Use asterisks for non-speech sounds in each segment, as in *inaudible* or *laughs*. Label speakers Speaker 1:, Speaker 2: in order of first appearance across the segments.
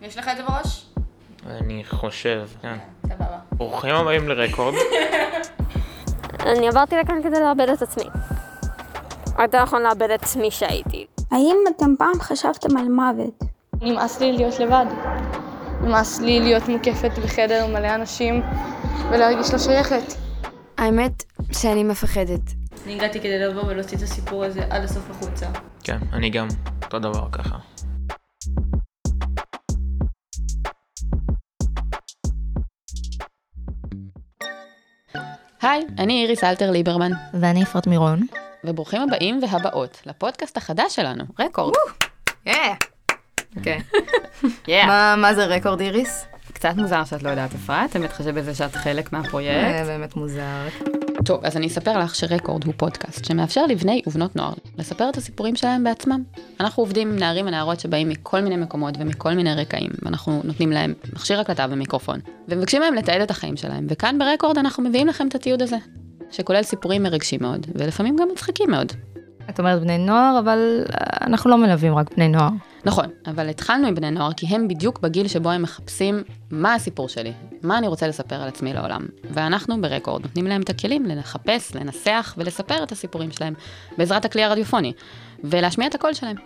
Speaker 1: יש לך את זה בראש?
Speaker 2: אני חושב, כן.
Speaker 1: סבבה.
Speaker 2: ברוכים הבאים לרקורד.
Speaker 3: אני עברתי לכאן כדי לאבד את עצמי. יותר נכון לאבד את מי שהייתי.
Speaker 4: האם אתם פעם חשבתם על מוות?
Speaker 5: נמאס לי להיות לבד. נמאס לי להיות מוקפת בחדר מלא אנשים ולהרגיש לא שייכת.
Speaker 6: האמת שאני מפחדת.
Speaker 1: אני הגעתי כדי לבוא ולהוציא את הסיפור הזה עד הסוף החוצה.
Speaker 2: כן, אני גם אותו דבר ככה.
Speaker 7: היי, אני איריס אלתר ליברמן,
Speaker 8: ואני אפרת מירון.
Speaker 7: וברוכים הבאים והבאות לפודקאסט החדש שלנו, רקורד. *laughs*
Speaker 8: אוקיי.
Speaker 7: יאה.
Speaker 8: מה- מה זה רקורד איריס?
Speaker 7: קצת מוזר שאת לא יודעת, אפרת, את מתחשבת בזה שאת חלק מהפרויקט.
Speaker 8: זה אה, באמת מוזר.
Speaker 7: טוב, אז אני אספר לך שרקורד הוא פודקאסט שמאפשר לבני ובנות נוער לספר את הסיפורים שלהם בעצמם. אנחנו עובדים עם נערים ונערות שבאים מכל מיני מקומות ומכל מיני רקעים, ואנחנו נותנים להם מכשיר הקלטה ומיקרופון, ומבקשים מהם לתעד את החיים שלהם, וכאן ברקורד אנחנו מביאים לכם את התיעוד הזה, שכולל סיפורים מרגשים מאוד, ולפעמים גם מצחיקים מאוד.
Speaker 8: את אומרת בני נוער, אבל אה, אנחנו לא מלווים רק בני נוער.
Speaker 7: נכון, אבל התחלנו עם בני נוער כי הם בדיוק בגיל שבו הם מחפשים מה הסיפור שלי, מה אני רוצה לספר על עצמי לעולם. ואנחנו ברקורד נותנים להם את הכלים לחפש, לנסח ולספר את הסיפורים שלהם בעזרת הכלי הרדיופוני, ולהשמיע את הקול שלהם.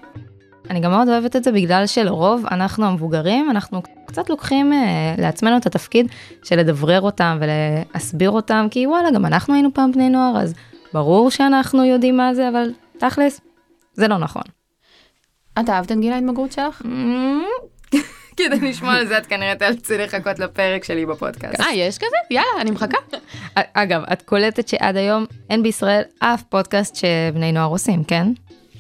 Speaker 8: אני גם מאוד אוהבת את זה בגלל שלרוב אנחנו המבוגרים, אנחנו קצת לוקחים אה, לעצמנו את התפקיד של לדברר אותם ולהסביר אותם, כי וואלה, גם אנחנו היינו פעם בני נוער, אז ברור שאנחנו יודעים מה זה, אבל תכלס, זה לא נכון.
Speaker 7: את אהבת את גיל ההתבגרות שלך?
Speaker 8: Mm-hmm. *laughs* כדי לשמוע על זה, את כנראה תאלצי לחכות לפרק שלי בפודקאסט.
Speaker 7: אה, יש כזה? יאללה, אני מחכה.
Speaker 8: אגב, את קולטת שעד היום אין בישראל אף פודקאסט שבני נוער עושים, כן?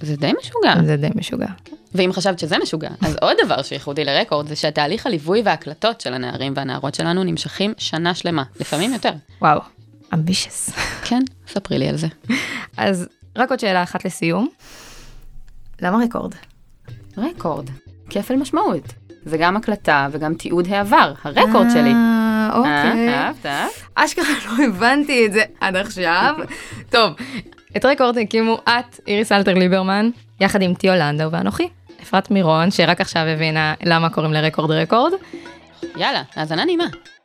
Speaker 7: זה די משוגע.
Speaker 8: זה די משוגע.
Speaker 7: ואם חשבת שזה משוגע, אז עוד דבר שייחודי לרקורד זה שהתהליך הליווי וההקלטות של הנערים והנערות שלנו נמשכים שנה שלמה, לפעמים יותר.
Speaker 8: וואו, אמבישס.
Speaker 7: כן, ספרי לי על זה.
Speaker 8: אז רק עוד שאלה אחת לסיום. אה, למה רקורד?
Speaker 7: רקורד, כפל משמעות. זה גם הקלטה וגם תיעוד העבר, הרקורד שלי.
Speaker 8: אה,
Speaker 7: אה,
Speaker 8: אוקיי.
Speaker 7: אהבת, אהבת?
Speaker 8: אשכרה לא הבנתי את זה עד *laughs* עכשיו. טוב, את רקורד הקימו את, איריס אלתר ליברמן, יחד עם טיו לנדאו ואנוכי. אפרת מירון, שרק עכשיו הבינה למה קוראים לרקורד רקורד.
Speaker 7: יאללה, האזנה נעימה.